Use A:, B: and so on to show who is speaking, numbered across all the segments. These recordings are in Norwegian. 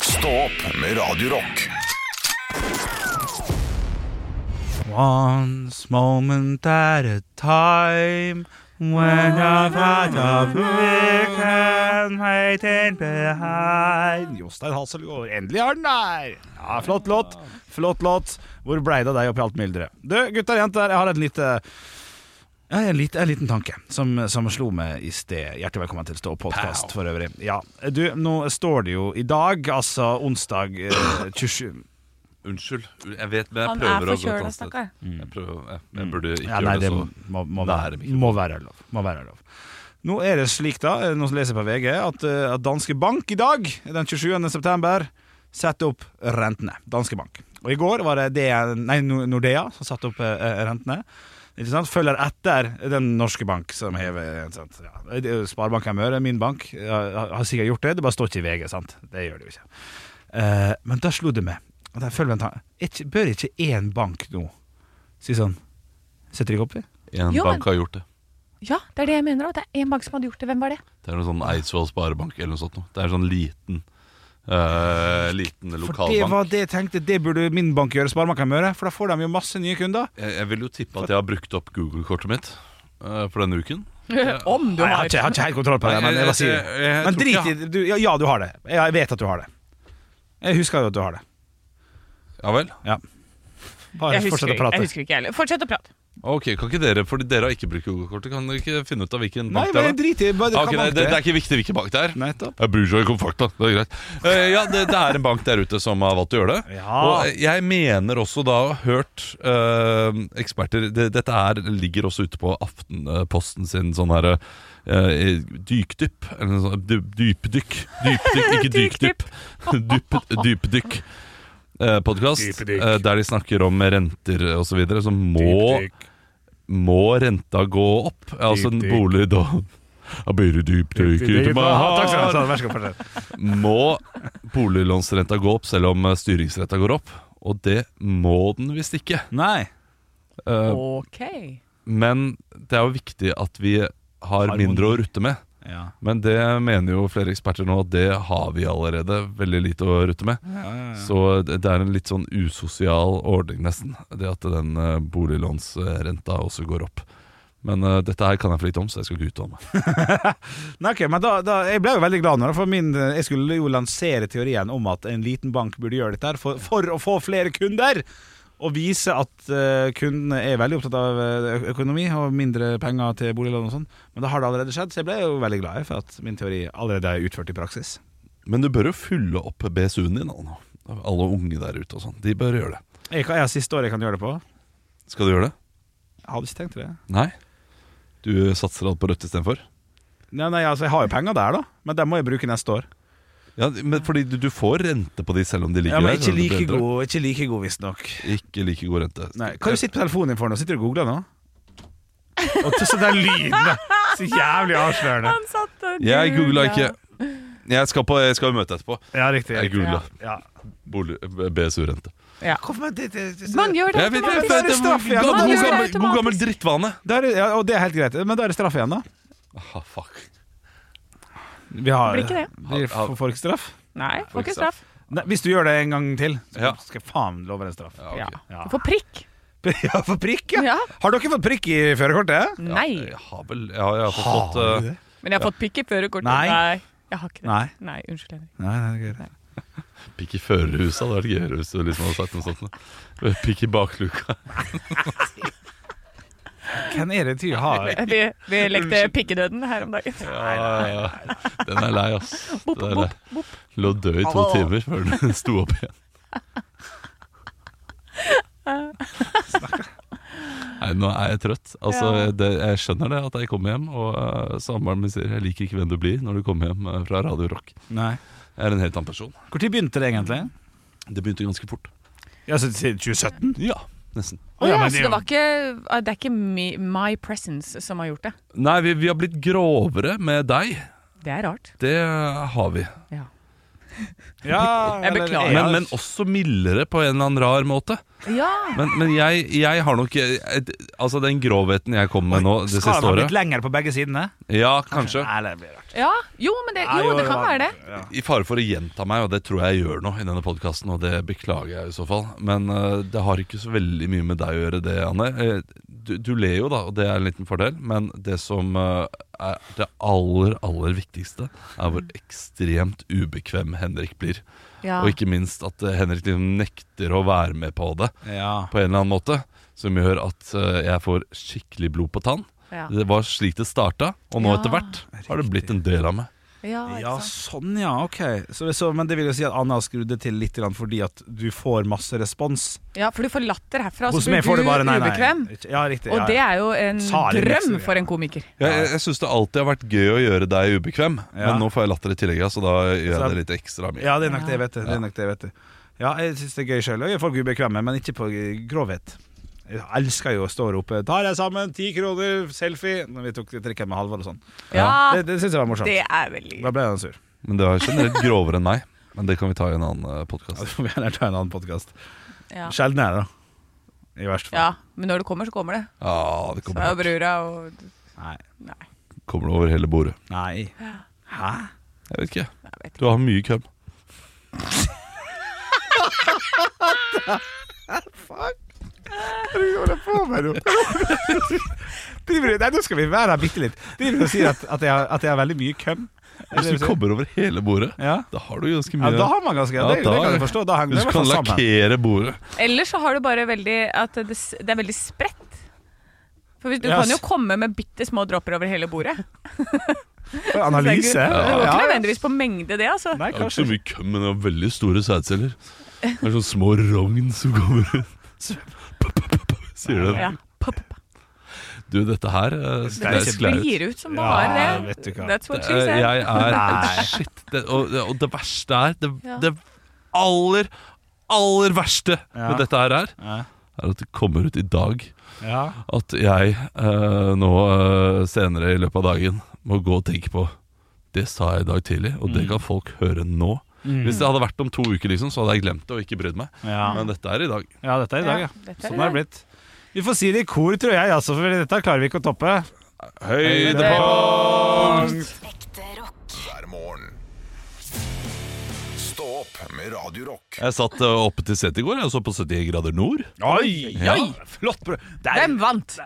A: Stå opp med Radio Rock.
B: Once moment at a time When I've had a weekend waiting behind Jostein Hasselgaard, endelig er den der! Ja, flott låt, flott låt Hvor blei det av deg oppi alt myldret? Du, gutter og jenter, jeg har et lite jeg har en, lit, en liten tanke som, som slo meg i sted. Hjertelig velkommen til Stå podkast for øvrig. Ja, du, nå står det jo i dag, altså onsdag eh, 27
C: Unnskyld. Jeg vet, men jeg
D: Han er
C: prøver å gå et
D: forkjøla,
C: annet sted.
D: stakkar.
C: Jeg, prøver, jeg, jeg burde ikke
B: ja, nei,
C: gjøre
B: det
C: Mm. det
B: må,
C: sånn.
B: må, må,
C: Nære
B: være, må være lov. Må være lov. Nå er det slik, da, eh, nå leser jeg på VG, at, eh, at Danske Bank i dag, den 27. september, setter opp rentene. Danske Bank. Og i går var det DN, nei, No- Nordea som satte opp eh, rentene. Ikke sant? Følger etter den norske bank som hever ikke sant? sånn, Ja. det er jo Sparebanken Møre, min bank, eh, har har sikkert gjort det. Det bare står ikke i VG, sant? Det gjør det jo ikke. Eh, men da slo det meg. Og da følger jeg en tanke. Ikke- Bør ikke én bank nå si sånn Setter ikke opp, vi?
C: En
D: Jo, men-
C: bank har gjort det.
D: Ja, det er det jeg mener òg. Det er én bank som hadde gjort det. Hvem var det?
C: Det er noe sånn Eidsvoll Sparebank eller noe sånt. noe. Det er en sånn liten eh, Liten
B: For det
C: lokalbank.
B: var det jeg tenkte, det burde min bank gjøre, Sparebanken Møre. For da får de jo masse nye kunder.
C: Jeg, jeg vil jo tippe at jeg har brukt opp Google-kortet mitt eh, for denne uken.
D: Om du
B: Nei, jeg har ikke, jeg har ikke helt kontroll på det, men jeg bare sier det. Men drit i
C: det.
B: det. Du- Ja, ja, du har det. Jeg jeg vet at du har det. Jeg husker jo at du har det.
C: Ja vel.
B: Bare fortsett å prate.
D: ikke, jeg heller. Fortsett å prate.
C: Ok, kan ikke dere, fordi dere har ikke brukt Google-kortet, kan dere ikke finne ut av hvilken
B: Nei,
C: bank det
B: men
C: er? da?
B: drit i det. Bare
C: Ah, ok,
B: hva
C: nei,
B: bank
C: det, det
B: det
C: er ikke viktig hvilken bank det er.
B: er. Nettopp.
C: Jeg bryr seg ikke om fakta. Det er greit. Eh, ja, det, det er en bank der ute som har valgt å eh, gjøre det.
B: Ja.
C: Og jeg mener også da å ha hørt eh, eksperter det, Dette her ligger også ute på Aftenposten sin sånn her eh, dykdypp. Eller noe sånt. Dy- Dypdykk. Dypdykk, ikke dykdypp. Dyp, dypdykk. eh, Podkast
B: Dypdykk.
C: eh, der de snakker om renter osv. Så, videre, så må må renta gå opp? Altså en
B: Dypdykk.
C: bolig da Da blir det dypdykk ut i
B: Ja, Takk skal
C: meg.
B: du ha. Vær så god, fortsett.
C: Må boliglånsrenta gå opp selv om eh, styringsrenta går opp? Og det må den visst ikke.
B: Nei.
C: Eh,
D: Ok.
C: Men det er jo viktig at vi har
B: Harmoni.
C: mindre å rutte med.
B: Ja.
C: Men det mener jo flere eksperter nå at det har vi allerede veldig lite å rutte med. Så det det er en litt sånn usosial ordning nesten, det at den eh, boliglånsrenta også går opp. Men eh, dette her kan jeg for lite om, så jeg skal ikke uttale meg.
B: Nei, ok, men da, da, Jeg ble jo veldig glad nå, da, for min, eh, jeg skulle jo lansere teorien om at en liten bank burde gjøre dette her for, for å få flere kunder. Og vise at eh, kundene er veldig opptatt av eh, økonomi og mindre penger til boliglån og sånn. Men da har det allerede skjedd, så jeg ble jo veldig glad jeg, for at min teori allerede er utført i praksis.
C: Men du bør jo fylle opp BSU-en din, Anna. Alle unge der ute og sånn. De bør gjøre det.
B: Jeg, kan- jeg har siste året jeg kan gjøre det på.
C: Skal du gjøre det?
B: Jeg hadde ikke tenkt det.
C: Nei. Du satser alt på rødt istedenfor?
B: Nei, nei, altså Jeg har jo penger der, da, men dem må jeg bruke neste år.
C: Ja, men fordi du, du får rente på de selv om de ligger
B: Ja, men
C: der.
B: Ikke
C: selv om du blir
B: like
C: eldre.
B: god, ikke like god visstnok.
C: Ikke like god rente.
B: Nei, Hva er det du sitter på telefonen din for nå? Sitter du og googler nå? Og til så den lyden da. Så jævlig avslørende
D: Han satt og
C: Jeg googla ikke. Jeg skal, på, jeg skal jo møte etterpå.
B: Ja, riktig
C: Jeg googla
B: ja.
C: bolig- BSU-rente.
D: Ja.
B: Hvorfor det, det, det,
D: Man gjør det
C: Jeg vet- jeg vet-
D: automatisk.
B: det er straff igjen.
C: god-
B: Man
C: god
B: gjør det
C: gammel- God
D: automatisk.
C: gammel drittvane.
B: Da er det, ja, Og det er helt greit Men da er det straff igjen da
C: Ah, fuck.
B: Vi har,
D: Blir ikke det?
B: blir- får- Får ikke straff
D: Nei, får ikke straff.
B: Nei, Hvis du gjør det en gang til Så
C: Ja.
B: skal jeg faen love deg en straff
C: Ja, ok.
D: Ja.
B: Ja.
D: Du får prikk.
B: Ja, for prikk ja.
D: Ja.
B: Har dere fått prikk i førerkortet?
D: Nei.
C: Jeg har vel Jeg har, jeg har fått
B: Har
C: eh,
B: du det?
D: Men jeg har fått pikk i førerkortet.
B: Nei.
D: Jeg har ikke det.
B: Nei
D: Nei, unnskyld, Henrik.
B: Nei, nei, det er greit
C: pikk i førerhuset. Det hadde vært gøyere hvis du liksom hadde sagt noe sånt. noe. Pikk i bakluka.
B: Hvem er det til å ha?
D: Vi, vi lekte pikkedøden her om dagen.
C: Ja, Den er lei, ass.
D: Bop,
C: Den er lei.
D: bop, bop.
C: Lå død i to
B: Hallo.
C: timer før den sto opp igjen. Nei, nå er jeg trøtt. Altså,
D: Ja.
C: det, jeg skjønner det at jeg kommer hjem, og uh, samboeren min sier 'jeg liker ikke hvem du blir' når du kommer hjem eh, fra Radio Rock.
B: Nei
C: Jeg er en helt annen person.
B: Hvor tid begynte det egentlig?
C: Det begynte ganske fort.
B: Ja, så siden 2017
C: Ja, nesten.
D: Å
B: Ja,
D: ja,
B: men det
D: så
B: er jo-
D: det var ikke ah, Det er ikke my, my presence som har gjort det.
C: Nei, vi, vi har blitt grovere med deg.
D: Det er rart.
C: Det har vi.
D: Ja.
B: Ja,
D: Jeg
B: eller-
D: beklager.
B: Ja,
C: Men, men også mildere på en eller annen rar måte.
D: Ja!
C: Men, men jeg, jeg har nok jeg, Altså den grovheten jeg kom med nå det siste
B: Skal den ha blitt
C: året
B: lengre på begge sidene?
C: Ja, kanskje.
B: Nei, det blir rart.
D: ja. Jo, men det,
B: Nei,
D: Eh, jo, det kan
B: var-
D: være det.
B: Ja.
C: I fare for å gjenta meg, og det tror jeg jeg gjør nå i denne podkasten, og det beklager jeg i så fall, men eh, det har ikke så veldig mye med deg å gjøre, det, Anne. Eh, du, du ler jo, da, og det er en liten fordel, men det som eh, er det aller, aller viktigste, er hvor ekstremt ubekvem Henrik blir.
D: Ja.
C: Og ikke minst at eh, Henrik liksom nekter å være med på det
B: Ja.
C: på en eller annen måte, som gjør at eh, jeg får skikkelig blod på tann.
D: Ja.
C: Det var slik det starta, og nå
D: Ja.
C: etter hvert har det blitt en del av meg.
D: Ja,
B: Ja,
D: ikke sant?
B: sånn ja, ok så, så, Men det vil jo si at Anna har skrudd det til litt grann fordi at du får masse respons
D: ja, for du får latter herfra, og
B: Hos
D: så
B: meg får
D: blir
B: du
D: du
B: bare nei, nei
D: ubekvem.
B: Ja, riktig
D: Og
B: ja,
D: det
B: ja.
D: er jo en
B: Salig
D: drøm
B: lekser,
D: for
B: ja.
D: en komiker.
C: Jeg, jeg, jeg syns det alltid har vært gøy å gjøre deg ubekvem,
B: Ja.
C: men nå får jeg latter i tillegg, ja, så da gjør
B: Så-
C: jeg det litt ekstra mye.
B: Ja, det er nok det jeg vet det. det, er nok det jeg vet det. Ja, jeg synes det er gøy selv Jeg er folk ubekvemme, men ikke på grovhet Jeg elsker jo å stå oppe Ta deg sammen, 10 kroner, selfie Når vi tok trikken med Halvor og sånn
D: Ja,
B: det, det synes jeg var morsomt
D: det er veldig
B: Da ble han sur
C: Men det er generelt grovere enn meg. Men det kan vi ta i en annen eh,
B: Ja,
C: podkast.
B: får vi gjerne ta en annen podcast
D: ja.
B: Sjelden er det da I verste fall
D: ja, men når det kommer, så kommer det.
C: Ja, det
D: Så er
C: kommer,
D: brura og
B: Nei,
D: Nei,
C: kommer det over hele bordet.
B: nei Hæ?
C: Jeg vet ikke.
D: jeg vet ikke.
C: Du har mye køm.
B: Driver du, nei, nå skal vi være her bitte litt. Driver du og sier at, at, jeg, har- at jeg har veldig mye køm? Er
C: Hvis
B: det det
C: du
B: sier?
C: kommer over hele bordet,
B: ja.
C: da har du ganske
B: ja,
C: mye.
B: da har man ganske
C: Ja,
B: det, det
C: da-
B: kan jeg forstå. Da henger det
C: du
B: i hvert
C: kan
B: fall sammen.
C: lakkere bordet.
D: Ellers så har du bare veldig At det, s- det er veldig spredt. For hvis, du
B: Ja,
D: kan jo
B: s-
D: komme med bitte små dropper over hele bordet.
B: Analyse.
D: Det går ikke
B: Ja.
D: nødvendigvis på mengde, det, altså.
B: Nei,
C: Det er ikke
B: kanskje
C: så mye køm, men det er veldig store sædceller. Det er sånne små rogn som kommer rundt. Sier du det?
D: Ja. Pop, pop, pop.
C: Du, dette her eh,
B: Det er
C: det
B: ikke
C: sklei ut.
D: Sklir ut som
B: Ja,
D: bare det.
B: vet du hva.
D: That's what she
C: Eh,
D: said.
C: Jeg er
B: Nei.
C: Shit. Det, og, og det verste er Det,
D: Ja.
C: det aller, aller verste
B: Ja.
C: med dette her er,
B: Ja.
C: er at det kommer ut i dag
B: Ja.
C: at jeg eh, nå eh, senere i løpet av dagen må gå og tenke på Det sa jeg i dag tidlig, og
B: Mm.
C: det kan folk høre nå. Hvis det hadde vært om to uker, liksom, så hadde jeg glemt det og ikke brydd meg.
B: Ja.
C: Men dette er i dag.
B: ja, dette er i dag, ja.
D: Ja, dette er i
B: Sånn er det blitt. Vi får si det i kor, tror jeg, altså, for dette klarer vi ikke å toppe.
E: Ekte rock.
A: hver morgen. Stå opp med Radio Rock.
C: Jeg satt eh, oppe til set i går, jeg så på 71 grader nord.
B: Oi!
C: Ja.
B: Flott brød.
D: Hvem vant?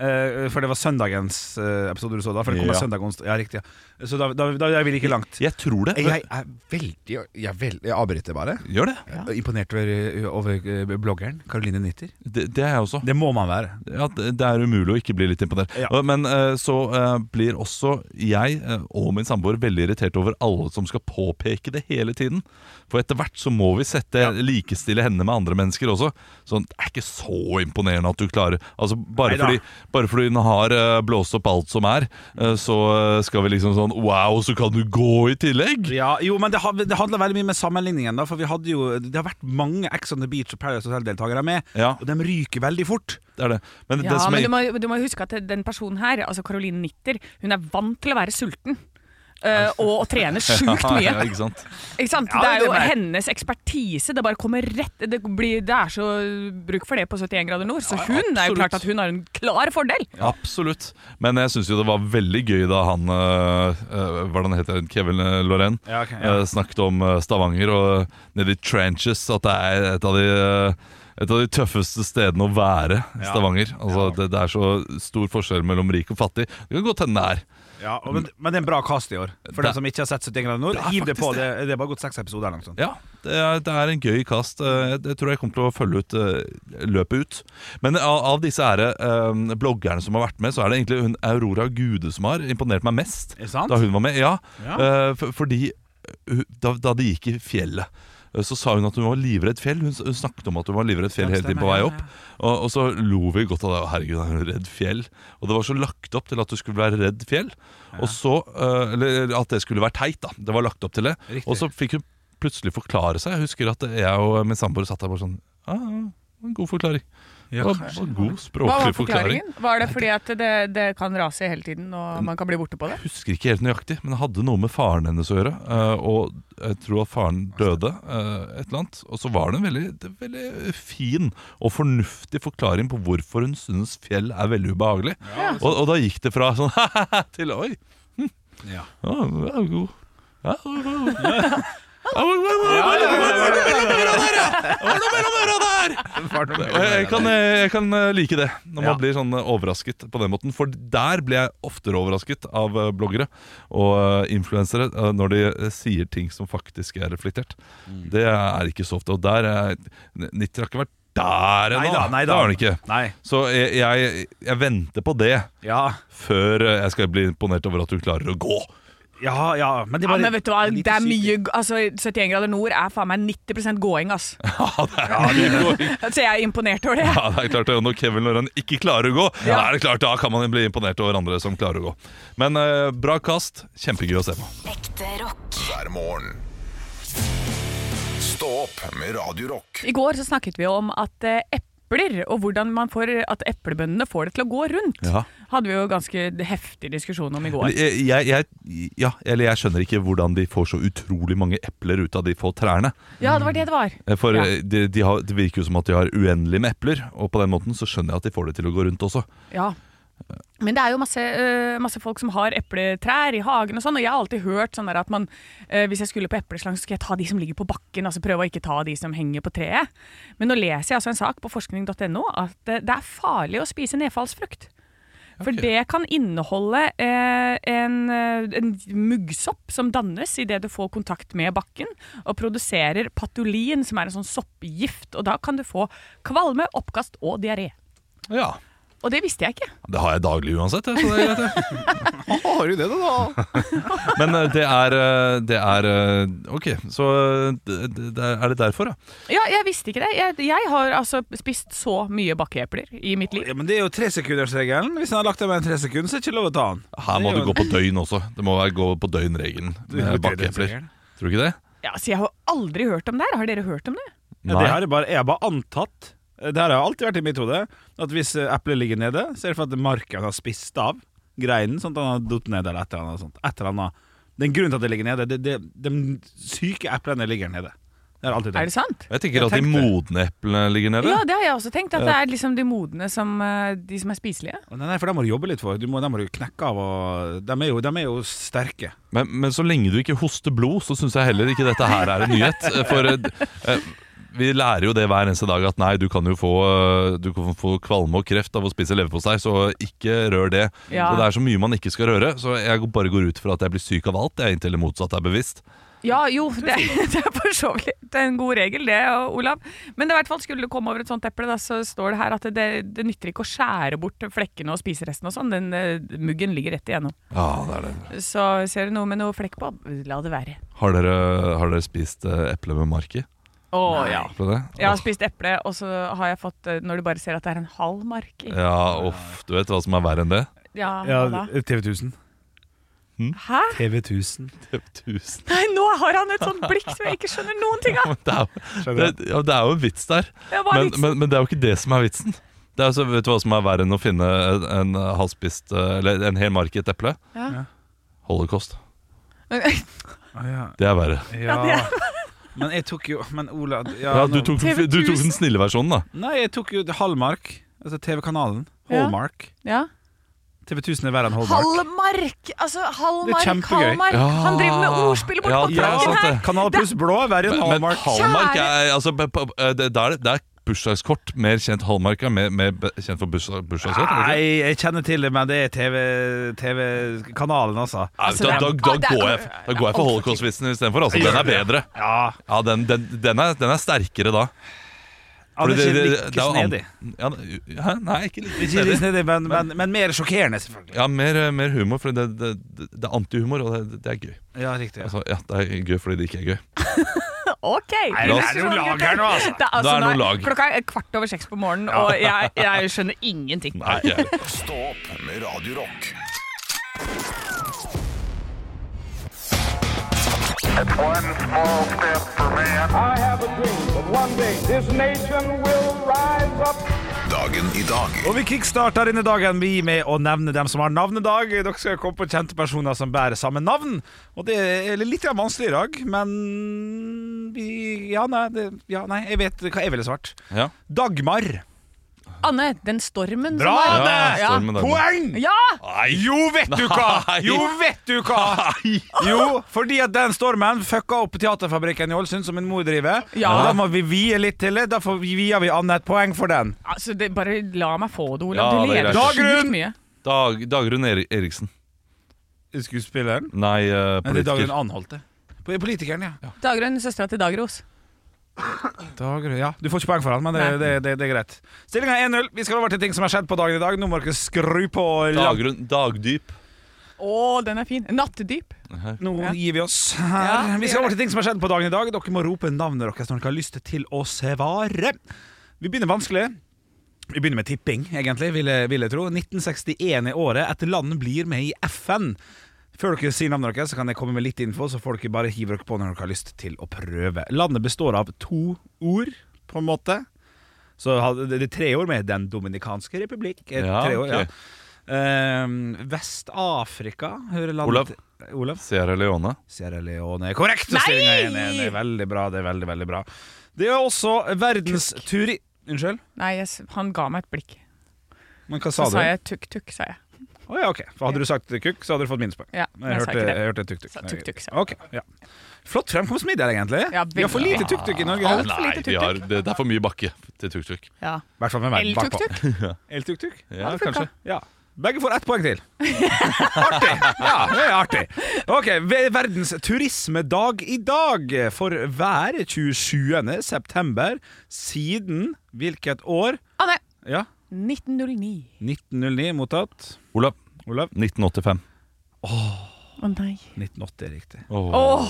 B: Eh, For det var søndagens eh, episode du så da. For det kommer
C: Ja.
B: søndag onsdag. Ja, riktig. Ja. Så da, da, da er vi like langt.
C: Jeg tror det.
F: Jeg er veldig Jeg, er veldig, jeg avbryter bare.
C: Gjør det.
F: Jeg er Imponert over, over bloggeren Caroline Nitter.
C: det. Det er jeg også.
B: Det må man være.
C: Ja, det det er umulig å ikke bli litt imponert.
B: Ja.
C: Og- Men eh, så eh, blir også jeg eh, og min samboer veldig irritert over alle som skal påpeke det hele tiden. For etter hvert så må vi sette likestille henne med andre mennesker også. Sånn, det er ikke så imponerende at du klarer Altså Bare,
B: Neida.
C: fordi, bare fordi hun har eh, blåst opp alt som er, eh, så eh, skal vi liksom sånn Wow, så kan du gå i tillegg!
B: Ja, jo, men det, ha- det handler veldig mye med sammenligningen. Da, for vi hadde jo, det har vært mange Ex on the Beach og Paradise Hotel-deltakere med,
C: Ja,
B: og de ryker veldig fort.
C: det er det. Men
D: Ja,
C: det som
D: men
C: er
D: du må, du må huske at den personen her, altså Caroline Nitter, hun er vant til å være sulten. eh, og å trene sjukt mye.
C: ja, ikke sant?
D: Ikke sant?
B: Ja,
D: det er
B: det
D: jo
B: er-
D: hennes ekspertise. Det bare kommer rett Det, blir, det er så bruk for det på 71 grader nord. Så hun det er jo
C: absolutt.
D: klart at hun har en klar fordel.
C: Absolutt. Men jeg syns jo det var veldig gøy da han øh, øh, Hva er det han heter? Kevin øh, Lorraine
B: Ja, ok,
C: øh, snakket om øh, Stavanger og nede i Tranches at det er et av de øh, et av de tøffeste stedene å være i
B: Ja.
C: Stavanger. Altså, det, det er så stor forskjell mellom rik og fattig. Det kan godt hende det er.
B: Ja, og, men, men det er en bra kast i år. For
C: Det-
B: dem som ikke har sett 71 grader nord,
C: Det er
B: hiv det
C: faktisk
B: på. Det, det er bare gått seks episoder. eller noe sånt.
C: Ja, det er, det er en gøy kast. Eh, Jeg tror jeg kommer til å følge ut eh, løpet ut. Men av, av disse ære, eh, bloggerne som har vært med, så er det egentlig hun Aurora Gude som har imponert meg mest.
B: Er det sant?
C: Da hun var med, ja.
B: Ja.
C: Eh, for- fordi eh, da, da de gikk i fjellet eh, så sa hun at hun var livredd fjell. Hun, s- hun snakket om at hun var livredd fjell
B: Ja,
C: hele tiden på
B: stemmer,
C: vei
B: ja,
C: opp. Og, og så lo vi godt av det. Herregud, er hun redd fjell? Og det var så lagt opp til at du skulle være redd fjell. Og så, eh, Eller at det skulle være teit, da. Det var lagt opp til det.
B: Riktig.
C: Og så fikk hun plutselig forklare seg. Jeg husker at jeg og min samboer satt der bare sånn ah, ja, en God forklaring. Det var, det var god
D: Hva var
C: språklig forklaring. Mm.
D: forklaringen? Var det fordi at det, det kan rase hele tiden og man kan bli borte på det?
C: Jeg husker ikke helt nøyaktig, men det hadde noe med faren hennes å gjøre. eh, og jeg tror at faren døde, eh, et eller annet. Og så var det en veldig, det er veldig fin og fornuftig forklaring på hvorfor hun synes fjell er veldig ubehagelig. og, og da gikk det fra sånn til oi. hm,
B: Ja.
C: Ja, det er god. Ja, det var god. Og jeg, jeg, kan, jeg kan eh, like det, når man
B: Ja.
C: blir sånn eh, overrasket på den måten. For der ble jeg oftere overrasket av eh, bloggere og eh, influensere eh, når de eh, sier ting som faktisk er reflektert. Det er ikke så ofte. Og der er Nitter har ikke vært der ennå.
B: Neida, neida.
C: Det har han ikke.
B: Nei.
C: Så jeg, jeg, jeg venter på det
B: Ja,
C: før eh, jeg skal bli imponert over at du klarer å gå.
B: ja, ja. Men det er
D: Ja,
B: bare
D: men vet du hva,
B: litt
D: det er
B: sykt.
D: mye Altså, 71 grader nord er faen meg 90 gåing, ass.
C: Ja, det er,
D: Så jeg er imponert over det.
C: ja, det er klart det. Og når Kevin Lauren ikke klarer å gå, da er det klart, da kan man bli imponert over andre som klarer å gå. Men eh, bra kast. Kjempegøy å se på.
E: Ekte rock.
A: hver morgen. Stå opp med Radio Rock.
D: I går så snakket vi om at eh, epler, og hvordan man får at eplebøndene får det til å gå rundt,
C: Ja.
D: hadde vi jo ganske heftig diskusjon om i går.
C: Jeg, eh, jeg, jeg, ja, eller jeg skjønner ikke hvordan de får så utrolig mange epler ut av de få trærne.
D: Ja, det var det det var.
C: Eh, For
D: Ja.
C: eh, de, de har, det virker jo som at de har uendelig med epler, og på den måten så skjønner jeg at de får det til å gå rundt også.
D: Ja. Men det er jo masse, øh, masse folk som har epletrær i hagen og sånn, og jeg har alltid hørt sånn der at man, øh, hvis jeg skulle på epleslang, så skulle jeg ta de som ligger på bakken, altså prøve å ikke ta de som henger på treet. Men nå leser jeg altså en sak på forskning.no at øh, det er farlig å spise nedfallsfrukt. For det kan inneholde eh, en, eh, en muggsopp som dannes idet du får kontakt med bakken, og produserer patulin, som er en sånn soppgift. Og da kan du få kvalme, oppkast og diaré.
C: Ja,
D: Og det visste jeg ikke.
C: Det har jeg daglig uansett. jeg, Så det er greit, jeg.
F: Har du det, da?
C: Men eh, det er, eh, det er eh, Ok, så eh, det, det- det er det derfor, ja.
D: Ja, jeg visste ikke det. Jeg, jeg har altså spist så mye bakkeepler i mitt liv.
B: Ja, men Det er jo tresekundersregelen. Hvis han har lagt deg med en tresekund, så er det ikke lov å ta den.
C: Her må
B: Det
C: du
B: er jo-
C: gå på døgn også. Det må være gå på døgn-regelen med bakkeepler. Tror du ikke det?
D: Ja, så jeg har aldri hørt om det her. Har dere hørt om det?
B: Ja, det her er bare, jeg har bare antatt eh, Det her har alltid vært i mitt hode At hvis eh, eplet ligger nede Så er det for at marken har spist av greinen Sånn at han har dutt ned eller et eller annet sånt Et eller annet Det er en grunn til at det ligger nede det, det, De syke eplene ligger nede Det har jeg alltid
D: Er det
B: tenkt
D: sant?
C: Jeg tenker at de
B: Jeg tenkte-
C: modne eplene ligger nede.
D: Ja, det har jeg også tenkt. At det er liksom de modne som eh, De som er spiselige.
B: Nei, nei, for de må du jobbe litt for Du må, De må du knekke av og, de, er jo, de er jo sterke
C: Men, men så lenge du ikke hoster blod, så syns jeg heller ikke dette her er en nyhet. Eh, For eh, eh, vi lærer jo det hver eneste dag at nei, du kan jo få, eh, du kan få kvalme og kreft av å spise leverpostei, så ikke rør det.
D: Ja.
C: Så det er så mye man ikke skal røre. Så jeg går- bare går ut fra at jeg blir syk av alt, jeg, inntil det motsatte er bevisst.
D: Ja, jo, det, det er for så vidt en god regel, det, Olav. Men det er i hvert fall skulle du komme over et sånt eple, da, så står det her at det, det nytter ikke å skjære bort flekkene og spise resten og sånn. Den eh, muggen ligger rett igjennom.
C: Ja, det er det.
D: Så ser du noe med noe flekk på, la det være.
C: Har dere, har dere spist eh, eple med mark i?
D: Å ja.
C: Ble det?
D: Jeg har spist eple, og så har jeg fått eh, Når du bare ser at det er en halv mark i.
C: Ja, uff, du vet hva som er verre enn det?
D: Ja, hva da?
B: TV 1000
D: Hæ?
B: TV 1000
C: Tusen.
D: Nei, nå har han et sånt blikk som jeg ikke skjønner noen ting av!
C: Det er, jo- det, ja, det er jo en vits der.
D: Det var
C: men,
D: litt
C: men, men det er jo ikke det som er vitsen. Det er altså, vet du hva som er verre enn å finne en, en halvspist eh, Eller en hel mark i et eple?
D: Ja.
B: Ja.
C: Holocaust.
D: ja,
B: ja,
C: Det er verre.
D: det
B: ja.
D: er-
B: Men jeg tok jo Men Ola ja,
C: Ja, du,
B: nå-
C: tok,
D: TV
C: du tok den snille versjonen, da.
B: Nei, jeg tok jo Hallmark Altså TV-kanalen
D: Ja.
B: Hallmark
D: ja.
B: TV 1000 er verre enn Hallmark
D: Halvmark! Altså, halvmark,
B: Det er kjempegøy.
D: halvmark. Han driver med ordspill borte
C: Ja,
D: på
C: det er
D: trakken
C: sant,
D: her!
C: det.
B: Kanal pluss blå er verre enn
C: Men, men
B: Hallmark.
C: Hallmark
D: Kjære-
C: er, altså, p- p- eh, det, det er, det er bursdagskort. Mer kjent Hallmark er mer, mer be- kjent for bursdag, bursdagskort. er det ikke?
B: Nei, jeg kjenner til det, men det er TV- TV-kanalen, altså.
C: Nei,
D: Altså,
C: da, da,
D: det er-
C: da,
D: Å, det er-
C: går jeg, da går jeg for holocaust-vitsen istedenfor. Altså, den er bedre.
B: Ja,
C: Ja, den, den, den, er, den er sterkere da.
B: det,
C: Fordi
B: er
C: det-
B: ikke
C: det- det
B: like
C: er jo an-
B: snedig.
C: Ja, det- ja, nei, ikke like
B: Ikke like
C: snedig.
B: snedig, men, men, men mer sjokkerende, selvfølgelig.
C: Ja, mer, mer humor, for det, det, det det er antihumor, og det, det er gøy.
B: Ja, riktig.
C: Altså, ja, det er gøy fordi det ikke er gøy.
D: Ok!
B: Nei, det er noe lag her nå, altså.
D: Det er, altså,
C: Det er noe
D: nå-
C: lag.
D: Klokka er kvart over seks på morgenen, og jeg, jeg skjønner ingenting.
C: Nei, ikke jeg.
A: Stå opp med Radio Rock.
G: One small step for man.
H: I have a dream that one day this nation will rise up
A: Dagen i dag.
B: Og vi kickstarter denne dagen vi med å nevne dem som har navnedag. Dere skal komme på kjente personer som bærer samme navn. Og det er litt grann vanskelig i dag, men vi- ja nei, det, ja, nei, jeg vet hva jeg ville svart.
C: Ja.
B: Dagmar.
D: Anne, den stormen
B: Bra,
D: som var
B: Anne!
D: Ja.
C: Stormen Dagmar.
B: Poeng!
D: Ja!
B: Jo, vet du hva!
C: Nei.
B: Jo, vet du hva! Jo, fordi at den stormen fucka opp Teaterfabrikken i Ålesund, som en mor driver.
D: Ja.
B: Og Da må vi vie litt til det. Derfor vier vi Anne et poeng for den.
D: Altså, det, bare la meg få det, Olav.
C: Ja,
D: du
C: det er
D: lever
C: greit.
D: sjukt
B: Dagrun!
D: mye.
C: Dag, Dagrun Eri- Eriksen.
B: Skuespilleren?
C: Nei, eh,
B: Nei, det er Dagrun
C: politiker.
B: Anholte. Politikeren, ja.
D: Dagrun, søstera til Dagros.
B: Dager, ja. Du får ikke poeng for han, men det,
D: Nei.
B: det, det, det er greit. Stillinga er 1-0. Vi skal over til ting som har skjedd på dagen i dag. Nå må dere skru på lamp.
C: Dagrun Dagdyp.
D: Å, den er fin. Nattdyp.
B: Nå
D: Ja.
B: gir vi oss her.
D: Ja, vi
B: vi skal
D: gjør
B: over til ting som har skjedd på dagen i dag. Dere må rope navnet deres når dere har lyst til å svare. Vi begynner vanskelig. Vi begynner med tipping, egentlig, vil jeg, vil jeg tro. 1961 er året. Et land blir med i FN. Før dere sier navnet deres, så kan jeg komme med litt info, så får dere bare hive dere på når dere har lyst til å prøve. Landet består av to ord, på en måte. Så hadde- det er tre ord med Den dominikanske republikk. Eh,
C: Ja,
B: tre år, ja.
C: ok.
B: Ehm, Vest-Afrika hører landet
C: Olav.
B: til- Olav.
C: Sierra Leone.
B: Sierra Leone. Korrekt! og stillingen er 1-1. Det er Veldig bra. Det er veldig, veldig bra. Det er også verdens turi... Unnskyld?
D: Nei, jeg, s- han ga meg et blikk.
B: Men hva sa
D: Så sa
B: du?
D: jeg tuk-tuk, sa jeg.
B: Å ja, ok. For hadde du sagt kukk, så hadde du fått minuspoeng. Jeg,
D: Ja, men jeg sa
B: hørte-
D: ikke det.
B: jeg hørte tuk-tuk.
D: Sa tuk-tuk, sa jeg.
B: Ok, ja. Flott fremkomstmiddel, egentlig.
D: Ja,
B: vi har for
D: veldig.
B: lite tuk-tuk i Norge.
D: Alt
B: I
D: for
C: Nei,
D: lite
C: vi har,
D: tuk-tuk.
C: det, det er for mye bakke til tuk-tuk.
D: Ja.
B: hvert fall med verden bakpå.
D: El-tuk-tuk.
B: El-tuk-tuk?
C: Ja,
D: det funka.
C: kanskje.
B: Ja. Begge får ett poeng til. Artig! Ja, det er artig. Ok, ve- Verdens turismedag i dag. For hver 27. september siden hvilket år?
D: Anne,
B: Ja,
D: 1909.
B: 1909 mottatt.
C: Olav.
B: Olav?
C: 1985.
D: Å nei.
B: 1980 er riktig.
D: Åh,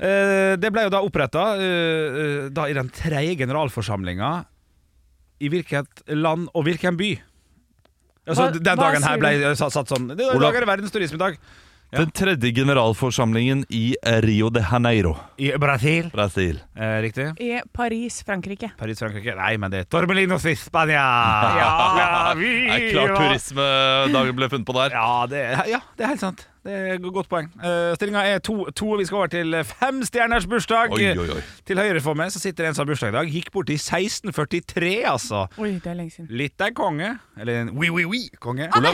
B: Eh, det ble jo da oppretta eh, eh, da i den tredje generalforsamlinga. I hvilket land og hvilken by? Altså,
D: Hva-
B: den
D: hva
B: dagen her
D: sier
B: ble
D: du?
B: eh, satt, satt sånn. Det
C: Olav.
B: er verdens turismedag. Ja.
C: Den tredje generalforsamlingen i Rio de Janeiro,
B: I Brasil.
C: Brasil.
B: Eh, riktig.
D: i Paris, Frankrike.
B: Paris, Frankrike. Nei, men det er Tormelinos i Spania!
C: Ja. Det er klart
B: viva!
C: turismedagen ble funnet på der.
B: Ja, det, ja, det er helt sant. Det er et godt poeng. Uh, Stillinga er 2-2. Vi skal over til femstjerners bursdag.
C: Oi, oi, oi.
B: Til høyre for meg så sitter det en som har bursdag i dag. Gikk bort i 1643, altså.
D: Oi, det er lenge siden.
B: Litt av en konge. Eller en oui-oui-oui-konge.
D: Anne!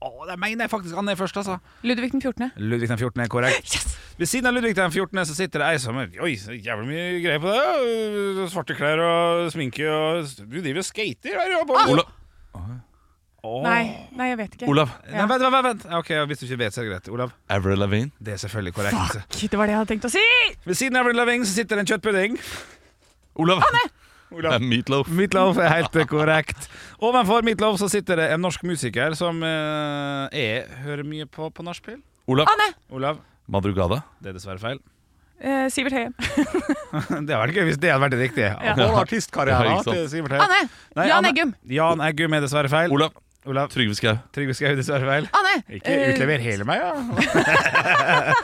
B: Å, det mener jeg faktisk han er først, altså.
D: Ludvig den 14.
B: Ludvig den 14. er korrekt.
D: Yes!
B: Ved siden av Ludvig den 14. så sitter det ei som er Oi, så jævlig mye greier på deg. Svarte klær og sminke og Du driver og skater. Hva er det du holder på med?
C: Olav.
B: Åh.
D: Nei, nei, jeg vet ikke.
C: Olav.
B: Nei, vent, vent, vent, vent. Ok, Hvis du ikke vet, så er det greit. Olav.
C: Avril Lavigne.
B: Det er selvfølgelig korrekt.
D: Fuck, det var det jeg hadde tenkt å si!
B: Ved siden av Avril Lavigne så sitter det en kjøttpudding.
C: Olav.
B: Olav.
C: Eh, Meatloaf.
B: Meatloaf er helt korrekt. Ovenfor Meatloaf så sitter det en norsk musiker som eh, jeg hører mye på på nachspiel.
C: Olav.
D: Anne!
B: Olav.
C: Madrugada.
B: Det er dessverre feil.
D: Eh, Sivert Høyem.
B: Det hadde vært gøy hvis det hadde vært det riktige.
D: Ja.
B: Vår
C: Ja,
B: artistkarriere
C: ikke sant.
B: til Sivert Høy.
D: Anne!
B: Nei,
D: Jan
B: Anne-
D: Eggum.
B: Jan Eggum er dessverre feil.
C: Olav.
B: Olav
C: Trygve Skau.
B: Trygve Skau er dessverre feil.
D: Anne!
B: Ikke
D: eh,
B: utlever hele meg, ja.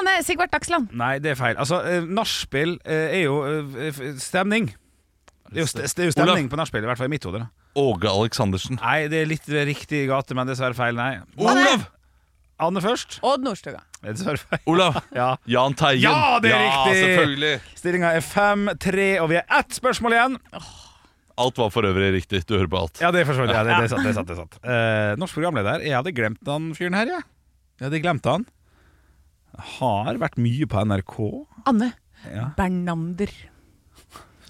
D: Anne Sigvart Dagsland.
B: Nei, det er feil. Altså, eh, nachspiel eh, er jo eh, f- stemning. Det er jo, st det er jo stemning på nachspiel, i hvert fall i mitt hode. da.
C: Åge Aleksandersen.
B: Nei, det er litt riktig gate, men dessverre feil. Nei.
C: Olav!
B: Anne først.
D: Odd Nordstoga.
B: Det er Dessverre feil.
C: Olav.
B: Ja.
C: Jahn Teigen.
B: Ja, det er riktig!
C: selvfølgelig.
B: Stillinga er 5-3, og vi er ett spørsmål igjen.
C: Alt var for øvrig riktig. Du hører på alt.
B: Ja, det forstår jeg. Ja, det, det er sant. det er sant, det er sant. Eh, norsk programleder. Jeg hadde glemt han fyren her, jeg. Jeg hadde glemt han. Har vært mye på NRK.
D: Anne
B: Ja.
D: Bernander.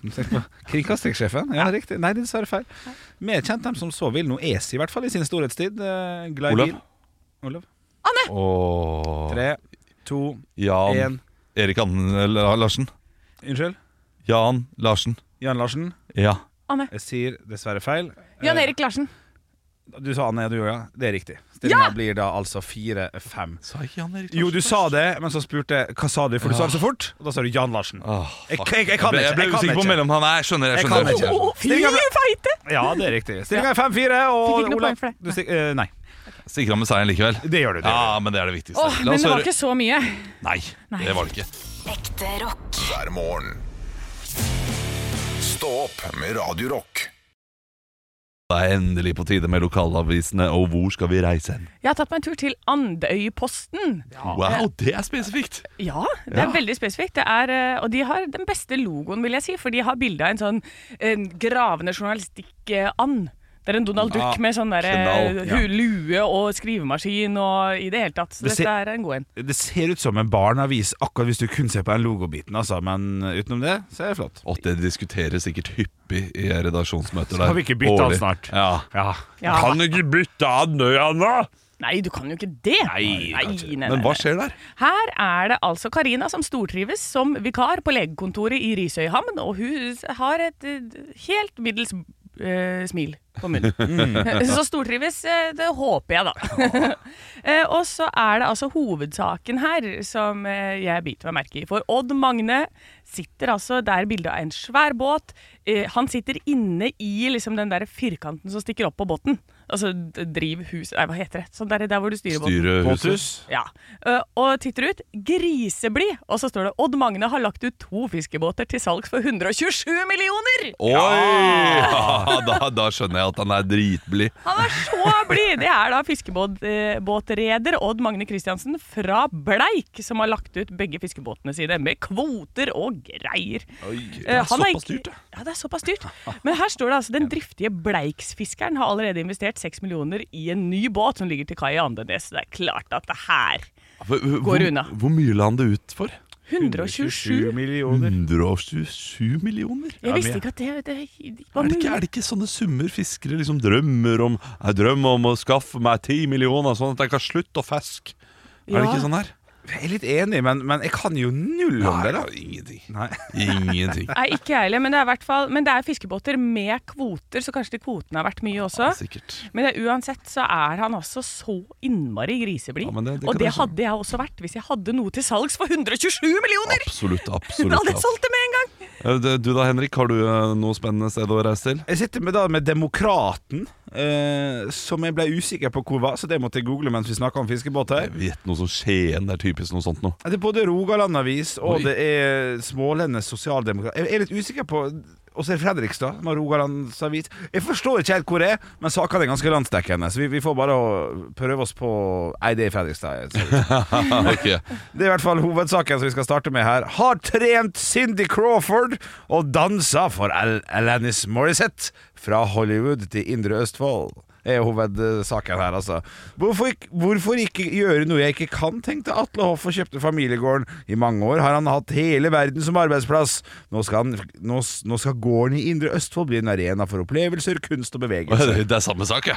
B: Kringkastingssjefen. Ja, riktig. Nei, det er dessverre feil. Mer kjent dem som så vil noe es, i hvert fall i sin storhetstid. Eh, glad i
C: Olav.
B: bil. Olav.
C: Åh.
B: Tre, to,
C: Jan
B: én.
C: Erik Anne La- Larsen.
B: Unnskyld.
C: Jan Larsen.
B: Jan Larsen.
C: Ja.
D: Anne.
B: Jeg sier dessverre feil.
D: Jan Erik Larsen.
B: Du sa Anne, du òg, ja? Det er riktig. Stillinga blir da altså 4-5.
C: Sa ikke Jan Erik
B: Jo, du sa det, men så spurte jeg hva sa du, for du sa det så fort. Og da sa du Jan Larsen.
C: Ah.
B: Jeg, jeg, jeg kan
C: jeg,
B: ikke.
C: ble
B: kan
C: usikker på
B: ikke.
C: mellom han. Nei, jeg skjønner. Jeg
B: Jeg kan
C: skjønner.
B: ikke.
D: Fire
B: Stillinga ble-
D: feite!
B: Ja, det er riktig. Stillinga er 5-4,
D: Fikk ikke
B: og Olav
D: noe poeng for det.
B: du stik- eh, Nei,
C: Stikker han med seieren likevel?
B: det gjør du. Det. gjør
C: Ja, men det er det viktigste.
D: Åh,
C: La
D: men
C: oss
D: det var
C: høre-
D: ikke så mye.
C: Ah, Nei,
D: Nei.
C: det var det ikke.
E: Ekte rock.
A: hver morgen. Stå opp med Radio Rock.
C: Det er endelig på tide med lokalavisene, og hvor skal vi reise hen?
D: Jeg har tatt meg en tur til Andøyposten.
C: Wow, det er spesifikt!
D: Ja, det er
C: Ja.
D: veldig spesifikt. Det er, eh, og de har den beste logoen, vil jeg si, for de har bilde av en sånn en gravende journalistikk-and. Det er en Donald Duck med sånn der, eh,
C: Ah, knall,
D: hu- lue og skrivemaskin og i det hele tatt. Så
B: Det ser-
D: dette er en god en.
B: Det ser ut som en barneavis akkurat hvis du kun ser på den logobiten, altså. Men utenom det, så er det flott.
C: Og det diskuteres sikkert hyppig i redaksjonsmøter der.
B: Skal vi ikke bytte han
C: Årlig.
B: snart?
C: Ja.
B: Ja.
D: Ja.
C: ikke bytte han nå, Anna?
D: Nei, du kan jo ikke det! Nei, nei, nei,
C: Men
D: nei.
C: hva skjer der?
D: Her er det altså Karina som stortrives som vikar på legekontoret i Risøyhamn, og hun har et eh, helt middels eh, smil på munnen. Mm. så stortrives, eh, det håper jeg, da. Eh, og så er det altså hovedsaken her som eh, jeg biter meg merke i. For Odd Magne sitter altså der bildet av en svær båt. Eh, han sitter inne i liksom den der firkanten som stikker opp på båten. Altså d- drivhus... Nei, hva heter det? Sånn der, der hvor du styrer båten.
C: Styre huset?
B: Båthus?
D: Ja, ø, og titter ut 'griseblid', og så står det 'Odd Magne har lagt ut to fiskebåter til salgs for 127 millioner'!
C: Oi! Ja, da, da skjønner jeg at han er dritblid.
D: Han er så blid! Det er da fiskebåtreder Odd Magne Christiansen fra Bleik som har lagt ut begge fiskebåtene sine med kvoter og greier.
C: det
D: Eh,
C: er
D: han
C: såpass
D: ikke-
C: dyrt, det.
D: Ja, det er såpass dyrt. Men her står det altså den driftige Bleiksfiskeren har allerede investert 6 millioner i en ny båt som ligger til kai i Andenes. Det er klart at det her
C: Hvor,
D: Går unna.
C: hvor mye la han det ut for?
D: 127
C: Mm.
B: millioner.
C: 127 millioner?
D: Jeg visste
B: mye.
D: ikke at det, det var
C: Er det,
D: mulig.
C: ikke, er det ikke sånne summer fiskere liksom drømmer om Jeg drømmer om å skaffe meg 10 millioner, sånn at jeg kan slutte å fiske? Er det
D: Ja.
C: ikke sånn her?
B: Jeg er litt enig, men, men jeg kan jo null om det. da
C: ingenting.
B: Nei.
C: Ingenting.
D: Nei, ikke jeg heller, men det er i hvert fall Men det er fiskebåter med kvoter, så kanskje de kvotene har vært mye også.
C: Sikkert.
D: Men det, uansett så er han altså så innmari griseblid.
C: Ja, men det- det kan
D: og det
C: jeg skjønne.
D: hadde jeg også vært hvis jeg hadde noe til salgs for 127 millioner!
C: Absolutt.
D: Da hadde
C: absolutt
D: jeg solgt det med en gang!
C: Eh, det- Du da, Henrik, har du eh, noe spennende sted å reise til?
B: Jeg sitter med, da med Demokraten, eh, som jeg ble usikker på hvor var, så det måtte jeg google mens vi snakka om fiskebåter.
C: Jeg vet noe som Skien det er typisk noe sånt noe.
B: Det er både Rogaland-avis og
C: Oi.
B: det er Smålendes Sosialdemokrat. Jeg er litt usikker på Og så er det Fredrikstad med Rogalandsavis. Jeg forstår ikke helt hvor det er, men sakene er ganske landsdekkende. Så vi, vi får bare å prøve oss på Nei, det er Fredrikstad. ser det ut
C: Ok.
B: som. Det er i hvert fall hovedsaken som vi skal starte med her. Har trent Cindy Crawford og dansa for Al Alanis Morissette fra Hollywood til Indre Østfold. Det er hovedsaken her, altså. Hvorfor ikke, hvorfor ikke gjøre noe jeg ikke kan, tenkte Atle Hoff og kjøpte familiegården. I mange år har han hatt hele verden som arbeidsplass. Nå skal, han, nå, s- nå skal gården i Indre Østfold bli en arena for opplevelser, kunst og bevegelse.
C: Det er samme sak, ja.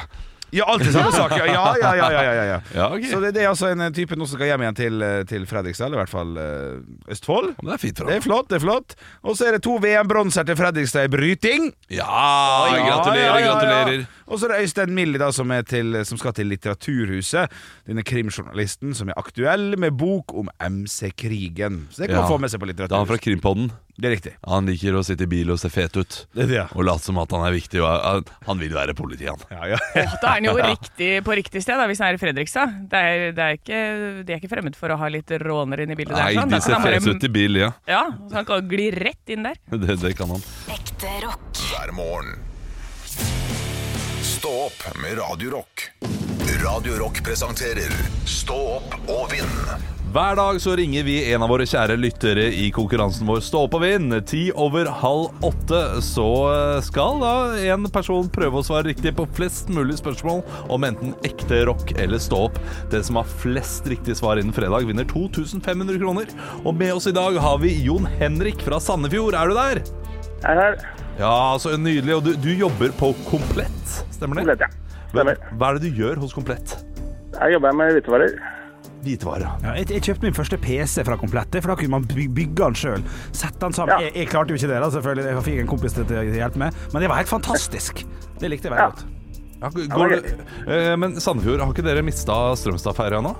B: Ja, alltid samme sak! Ja, ja, ja. ja, ja, ja, ja.
C: Ja, ok.
B: Så det, det er altså en type nå som skal hjem igjen til, eh, til Fredrikstad, eller i hvert fall eh, Østfold.
C: Men det er fint for
B: Det
C: ham.
B: er flott, det er flott. Og så er det to VM-bronser til Fredrikstad i bryting.
C: Ja, gratulerer, gratulerer.
B: Og så er det Øystein Millie da, som, er til, som skal til Litteraturhuset. Denne krimjournalisten som er aktuell med bok om MC-krigen. Så det kan
C: Ja.
B: man få med seg på
C: Det er han fra
B: Litteraturhuset.
C: Krimpodden.
B: Det er riktig.
C: Han liker å sitte i bil og se fet ut.
B: Det er det, ja.
C: Og late som at han er viktig. Og han- han vil være politi, han.
B: Ja, ja.
D: Åh, da er han jo riktig, på riktig sted, da, hvis han er i Fredrikstad. Det er, det er ikke, de er ikke fremmed for å ha litt råner inn i bildet.
C: Nei,
D: der, sånn. Da
C: de
D: kan
C: ser
D: han bare-
C: fete ut i bil, ja.
D: Ja, så han kan gli rett inn der.
C: Det, det kan han.
E: Ekte rock.
A: hver morgen. Stå opp med Radio Rock. Radio Rock presenterer Stå opp og vinn.
C: Hver dag så ringer vi en av våre kjære lyttere i konkurransen vår Stå opp og vinn. Ti over halv åtte så eh, skal da en person prøve å svare riktig på flest mulig spørsmål om enten ekte rock eller stå opp. Den som har flest riktige svar innen fredag, vinner 2500 kroner. Og med oss i dag har vi Jon Henrik fra Sandefjord. Er du der?
H: Jeg er her.
C: Ja, så nydelig. Og du, du jobber på Komplett, stemmer det?
H: Komplett, ja.
C: Hva,
H: Stemmer.
C: hva er det du gjør hos Komplett?
H: Her jobber jeg med hvitevarer.
C: Hvitevare.
F: Ja, jeg, jeg kjøpte min første PC fra Komplette, for da kunne man by- bygge den sjøl. Sette den sammen.
H: Ja.
F: Jeg, jeg klarte jo ikke det, da, selvfølgelig. Jeg fikk en kompis til til å hjelpe meg, men det var helt fantastisk. Det likte jeg veldig
H: Ja.
F: godt.
C: Ja, går, eh, men Sandefjord, har ikke dere mista Strømstad-ferja nå?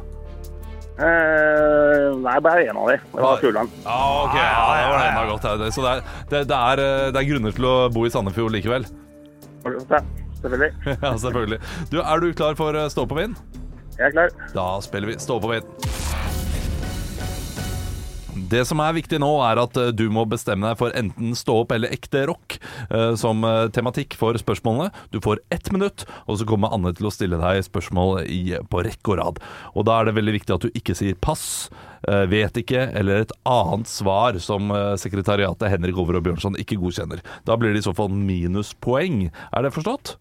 H: Eh, nei, bare en av de. Det var Fjordland.
C: Ah, ok, ja, det var enda godt. det. Så det er, det, det, er, eh, det er grunner til å bo i Sandefjord likevel.
H: Ja, selvfølgelig.
C: ja, selvfølgelig. Du, er du klar for eh, Stå på vind?
H: Jeg er klar.
C: Da spiller vi Stå på vind. Det som er viktig nå, er at eh, du må bestemme deg for enten stå opp eller ekte rock eh, som eh, tematikk for spørsmålene. Du får ett minutt, og så kommer Anne til å stille deg spørsmål i, på rekke og rad. Og da er det veldig viktig at du ikke sier pass, eh, vet ikke, eller et annet svar som eh, sekretariatet Henrik Over og Bjørnson ikke godkjenner. Da blir det i så fall minuspoeng. Er det forstått?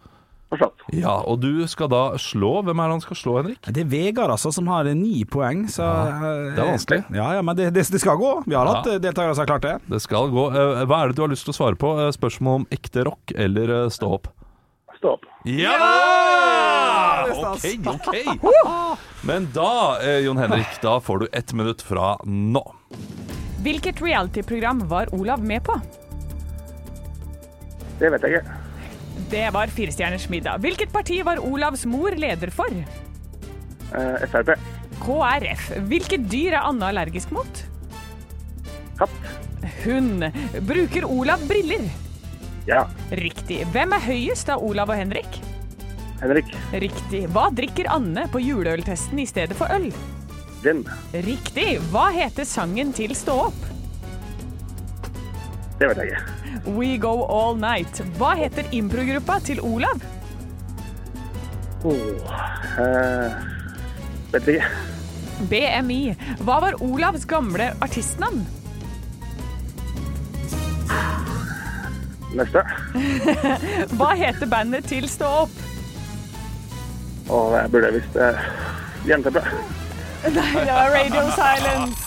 H: Forstått.
C: Ja, og du skal da slå. Hvem er det han skal slå, Henrik?
F: Det er Vegard altså som har eh, ni poeng, så eh,
C: Det er vanskelig.
F: Ja, ja, men det, det, det skal gå. Vi har hatt eh, deltakere som har klart det.
C: Det skal gå. Eh, Hva er det du har lyst til å svare på? Eh, Spørsmål om ekte rock eller eh, stå opp?
H: Stå opp.
C: Ja! Ok, ok. Men da, eh, Jon Henrik, da får du ett minutt fra nå.
D: Hvilket reality-program var Olav med på?
H: Det vet jeg ikke.
D: Det var Firestjerners middag. Hvilket parti var Olavs mor leder for?
H: Eh, Frp.
D: KrF. Hvilket dyr er Anne allergisk mot?
H: Katt.
D: Hund. Bruker Olav briller?
H: Ja.
D: Riktig. Hvem er høyest av Olav og Henrik?
H: Henrik.
D: Riktig. Hva drikker Anne på juleøltesten i stedet for øl?
H: Gin.
D: Riktig. Hva heter sangen til Stå opp?
H: Det vet jeg ikke.
D: We Go All Night. Hva heter improgruppa til Olav?
H: Oh. Eh, vet ikke.
D: BMI. Hva var Olavs gamle artistnavn?
H: Neste.
D: Hva heter bandet til Stå opp?
H: Og jeg burde visst eh, Jernteppe.
D: Nei, det var Radio Silence.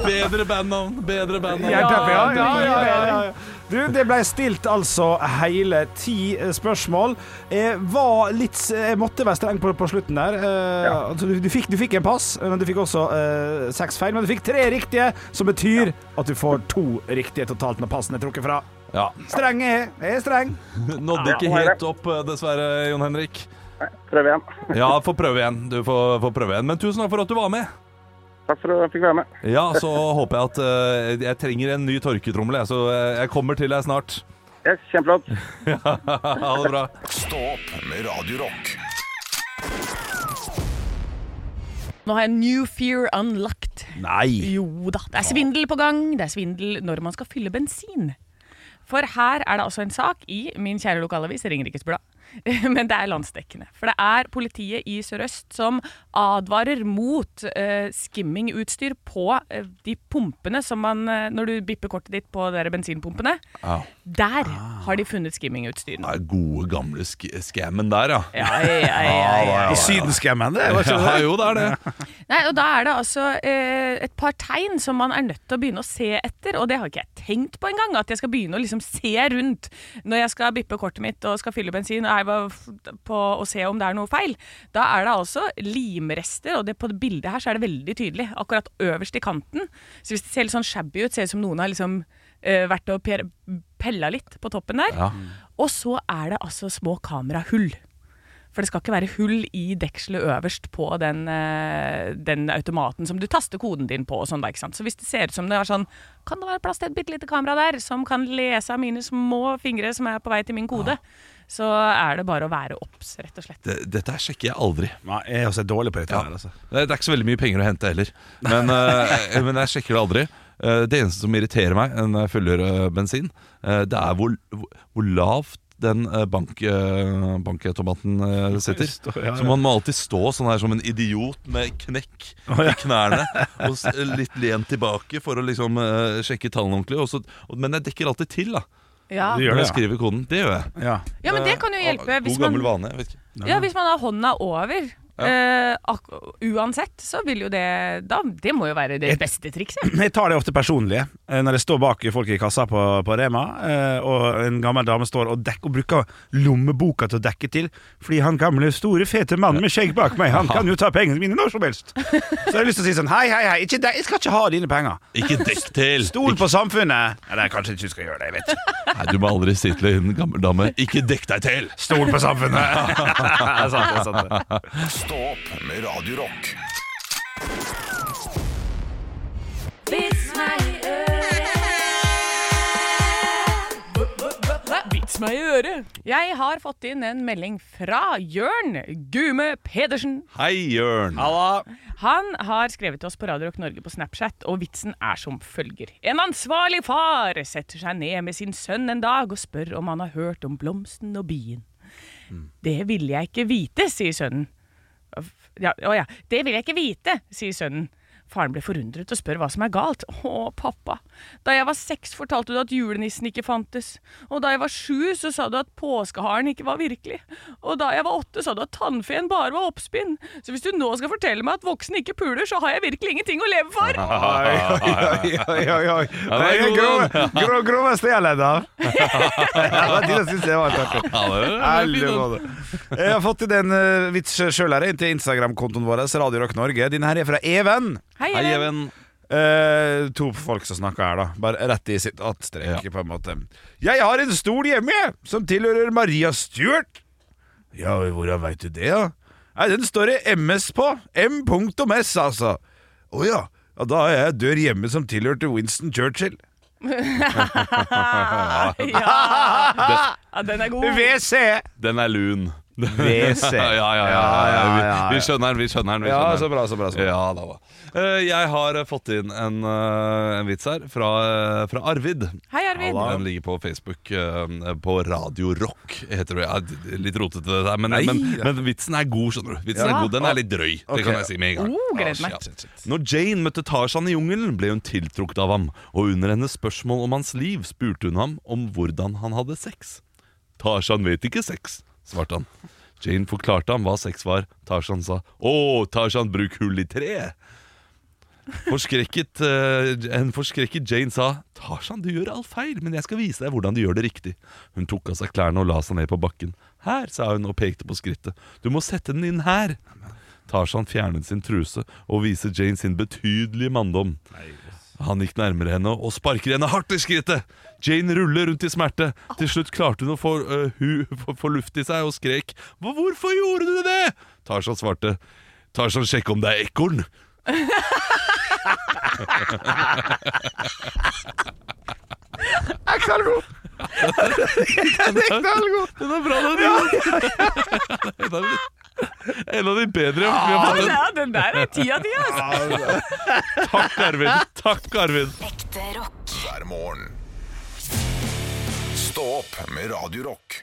C: Bedre bandnavn! Bedre bandnavn.
B: Ja, ja, ja, ja, ja, ja. Du, det ble stilt altså hele ti eh, spørsmål. Jeg var litt Jeg måtte være streng på, på slutten der. Eh,
H: Ja.
B: altså, du, du, fikk, du fikk en pass, men du fikk også eh, seks feil. Men du fikk tre riktige, som betyr at du får to riktige totalt når passene er trukket fra.
C: Ja.
B: Streng er jeg. Jeg er streng.
C: Nådde ikke helt opp, eh, dessverre, Jon Henrik.
H: Prøv igjen.
C: Ja, får prøve igjen. Du får, får prøve igjen. Men tusen takk for at du var med.
H: Takk for at jeg fikk være med.
C: Ja, så håper jeg at eh, jeg trenger en ny tørketrommel, jeg, så eh, jeg kommer til deg snart.
H: Yes, Kjempeflott.
C: Ha det bra.
A: Stå opp med Radio Rock.
D: Nå har jeg New Fear Unlocked.
B: Nei.
D: Jo da, det er svindel på gang. Det er svindel når man skal fylle bensin. For her er det altså en sak i min kjære lokalavis Ringerikes Blad. Men det er landsdekkende. For det er politiet i Sør-Øst som advarer mot eh, skimmingutstyr på eh, de pumpene som man eh, Når du bipper kortet ditt på de der bensinpumpene. Der har de funnet skimmingutstyr.
C: Det er gode, gamle sk skammen der, ja.
D: Ja, ja, ja, ja, ja.
B: I Sydenskammen, det. Var ikke
C: Ja,
B: det?
C: jo, det er det.
D: Nei, og da er det altså eh, et par tegn som man er nødt til å begynne å se etter, og det har ikke jeg tenkt på engang, at jeg skal begynne å liksom se rundt når jeg skal bippe kortet mitt og skal fylle bensin og, jeg var f- på, og se om det er noe feil. Da er det altså limrester, og det, på det bildet her så er det veldig tydelig, akkurat øverst i kanten. Så hvis det ser litt sånn shabby ut, ser det ut som noen har liksom eh, vært og per- pella litt på toppen der. Og så er det altså små kamerahull. For det skal ikke være hull i dekselet øverst på den, eh, den automaten som du taster koden din på. og sånn da, ikke sant? Så hvis det ser ut som det er sånn Kan det være plass til et bitte lite kamera der som kan lese av mine små fingre som er på vei til min kode? Så er det bare å være obs, rett og slett.
C: Det- Dette her sjekker jeg aldri.
B: Nei, jeg er også dårlig på dette.
C: Ja.
B: her, altså.
C: Det er ikke så veldig mye penger å hente heller. Men, eh, men jeg sjekker det aldri. Eh, det eneste som irriterer meg når jeg fyller eh, bensin, eh, det er hvor, hvor hvor lavt den eh, bank, eh, bankautomaten eh, sitter.
B: Står- ja, ja.
C: Så man må alltid stå sånn her som en idiot med knekk i knærne og s- eh, litt lent tilbake for å liksom eh, sjekke tallene ordentlig. Og så, og- men jeg dekker alltid til da
D: Ja.
B: Du gjør
C: når
B: det,
C: jeg
B: ja.
C: skriver koden. Det gjør jeg.
B: ja.
D: ja, men det kan jo hjelpe.
C: Eh,
D: Hvis
C: God gammel
D: man,
C: vane. Jeg vet ikke.
D: ja, hvis man har hånda over. eh, ak- uansett, så vil jo det da, Det må jo være det beste trikset.
B: Jeg tar det ofte personlig eh, når jeg står bak folk i kassa på, på Rema, eh, og en gammel dame står og, dekker, og bruker lommeboka til å dekke til, fordi han gamle, store, fete mannen med skjegg bak meg, han kan jo ta pengene mine når som helst. Så jeg har lyst til å si sånn Hei, hei, hei, ikke de, jeg skal ikke ha dine penger.
C: Ikke dekk til!
B: Stol på samfunnet. Eller kanskje ikke du skal gjøre det, jeg vet ikke.
C: Nei, du må aldri si til en gammel dame 'ikke dekk deg til'.
B: Stol på samfunnet. det er sant, det er sant. det.
A: Stå opp med Radio Rock.
D: Vits
I: Kyss meg i øret!
D: Jeg har fått inn en melding fra Jørn Gume Pedersen.
C: Hei, Jørn.
D: Han har skrevet til oss på Radio Rock Norge på Snapchat, og vitsen er som følger. En ansvarlig far setter seg ned med sin sønn en dag og spør om han har hørt om blomsten og bien.
I: Mm.
D: Det ville jeg ikke vite, sier sønnen. Ja, å ja. Det vil jeg ikke vite, sier sønnen. Faren ble forundret og spør hva som er galt. Å, pappa. Da jeg var seks, fortalte du at julenissen ikke fantes. Og da jeg var sju, så sa du at påskeharen ikke var virkelig. Og da jeg var åtte, sa du at tannfeen bare var oppspinn. Så hvis du nå skal fortelle meg at voksne ikke puler, så har jeg virkelig ingenting å leve for!
B: Oi, oi, oi, oi, oi.
C: Ja, det er
B: Den
C: god,
B: grove-
C: den.
B: gro- groveste jeg har ledd av. Ja, Det synes jeg var en takke.
C: Ja, det er- det er fint,
B: Ærlig
C: den.
B: måte. Jeg har fått til en eh, vits sjøl her, inn til Instagram-kontoen vår, Radio Rock Norge. Din her er fra Even.
D: Hei,
C: Hei,
D: Even.
C: Even.
B: Eh, to folk som snakker her, da. Bare rett i sitatstrek, på en måte. Jeg har en stol hjemme, jeg, som tilhører Maria Stuart. Ja, hvordan veit du det, da? Nei, den står det MS på. M.S, altså. Å ja. ja. Da har jeg dør hjemme som tilhørte Winston Churchill.
D: Ah, Ja. ja, den er god.
B: WC!
C: Den er lun.
B: WC.
C: Ja, ja, ja, ja, ja.
B: ja, ja.
C: Vi, vi skjønner den, vi skjønner den. vi
B: Ja,
C: skjønner den.
B: så bra, så bra. Så bra.
C: Ja, da var Eh, Jeg har eh, fått inn en, eh, en vits her fra, eh, fra Arvid.
D: Hei, Arvid.
C: Ja, da. Den ligger på Facebook eh, på Radio Rock, heter det. Ja, d- litt rotete, det der, men, men, men vitsen er god, skjønner du. Vitsen er god, Den er litt drøy.
B: Ok.
C: Det kan jeg si med en gang.
D: Oh, gleder meg.
C: Ja, shit, shit. Når Jane møtte Tarzan i jungelen, ble hun tiltrukket av ham, og under hennes spørsmål om hans liv spurte hun ham om hvordan han hadde sex. Tarzan vet ikke sex, svarte han. Jane forklarte ham hva sex var. Tarzan sa 'Å, Tarzan, bruk hull i treet'. Forskrekket, eh, en forskrekket Jane sa 'Tarzan, du gjør alt feil, men jeg skal vise deg hvordan du gjør det riktig'. Hun tok av seg klærne og la seg ned på bakken. 'Her', sa hun og pekte på skrittet. 'Du må sette den inn her'. Tarzan fjernet sin truse og viser Jane sin betydelige manndom. Han gikk nærmere henne og sparker henne hardt i skrittet. Jane ruller rundt i smerte. Til slutt klarte hun å få, øh, hu, få, få luft i seg og skrek «Hva- 'Hvorfor gjorde du det?' Tarzan svarte 'Tarzan, sjekk om det er ekorn'. Den er bra, den! en, av de, en av de bedre vi har fått.
D: Ja, den der er ti av ti, altså.
C: en. Takk, Arvid. Takk, Arvid.
E: Ekte rock.
A: hver morgen. Stå opp med Radio Rock.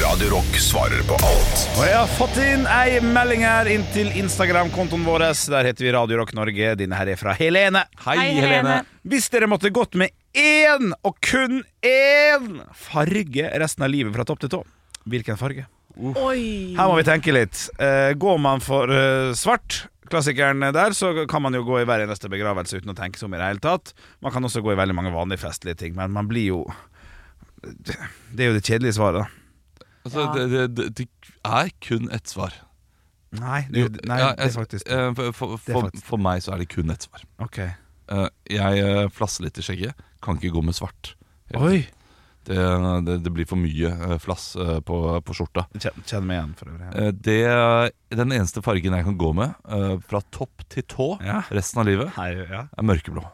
A: Radio Rock svarer på alt
B: Og jeg har fått inn ei melding her inn til Instagram-kontoen vår. Der heter vi Radio Rock Norge. Dine her er fra Helene.
D: Hei, Helene.
B: Hvis dere måtte gått med én, og kun én, farge resten av livet fra topp til tå, hvilken farge?
D: Oi.
B: Her må vi tenke litt. Eh, går man for eh, svart, klassikeren der, så kan man jo gå i hver eneste begravelse uten å tenke seg om i det hele tatt. Man kan også gå i veldig mange vanlige festlige ting, men man blir jo Det er jo det kjedelige svaret, da.
C: Altså, det, det, det, det er kun ett svar.
B: Nei, det, er jo- nei,
C: Ja,
B: det er
C: jeg-
B: faktisk
C: eh, For, for,
B: er
C: for,
B: faktisk-
C: for meg så er det kun ett svar.
B: Ok.
C: Eh, Jeg eh, flasser litt i skjegget. Kan ikke gå med svart.
B: Oi!
C: Det, det, det blir for mye eh, flass eh, på, på skjorta.
B: Kjenn kjenn meg igjen, for øvrig.
C: Eh, Det, den eneste fargen jeg kan gå med eh, fra topp til tå
B: Ja.
C: resten av livet,
B: Hei, ja.
C: er mørkeblå.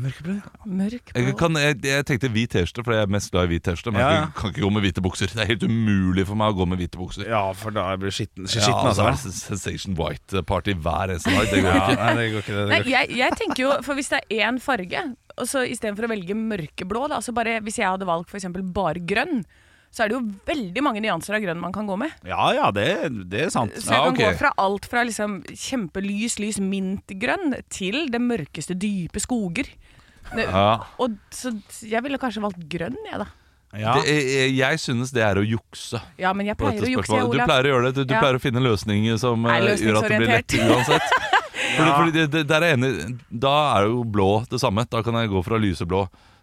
B: Mørkeblå, ja.
C: Jeg, kan, jeg, jeg tenkte hvit T-skjorte, for jeg er mest glad i hvit T-skjorte. Men
B: Ja, ja.
C: jeg kan ikke gå med hvite bukser. Det er helt umulig for meg å gå med hvite bukser.
B: Ja, for da blir skitten,
C: Ja,
B: skitten
C: altså,
B: altså.
C: er det Sensation White-party hver eneste dag. Det går
B: Ja,
C: ikke.
B: nei, det går ikke. Det, det
D: Nei,
B: går ikke.
D: jeg, jeg tenker jo, for hvis det er én farge og så Istedenfor å velge mørkeblå da, så bare, Hvis jeg hadde valgt for eksempel bare grønn Så er det jo veldig mange nyanser av grønn man kan gå med
B: Ja ja, det, det er sant.
D: Så jeg
C: Ja,
D: kan
C: ok.
D: gå fra alt fra liksom kjempelys, lys mintgrønn Til det mørkeste dype skoger Ne-
C: Ja.
D: og, Så jeg ville kanskje valgt grønn jeg da
B: Ja.
C: Det, jeg, jeg synes det er å jukse.
D: Ja, men jeg
C: på dette
D: pleier å jukse,
C: spørsmålet.
D: jeg,
C: Du
D: Olav
C: pleier å gjøre det. Du, du
D: Ja.
C: pleier å finne en løsning som eh,
D: Jeg er
C: gjør at det blir lett
D: løsningsorientert.
C: uansett. Fordi, fordi det, det, der er jeg enig, da er jo blå det samme. Da kan jeg gå fra lyseblå,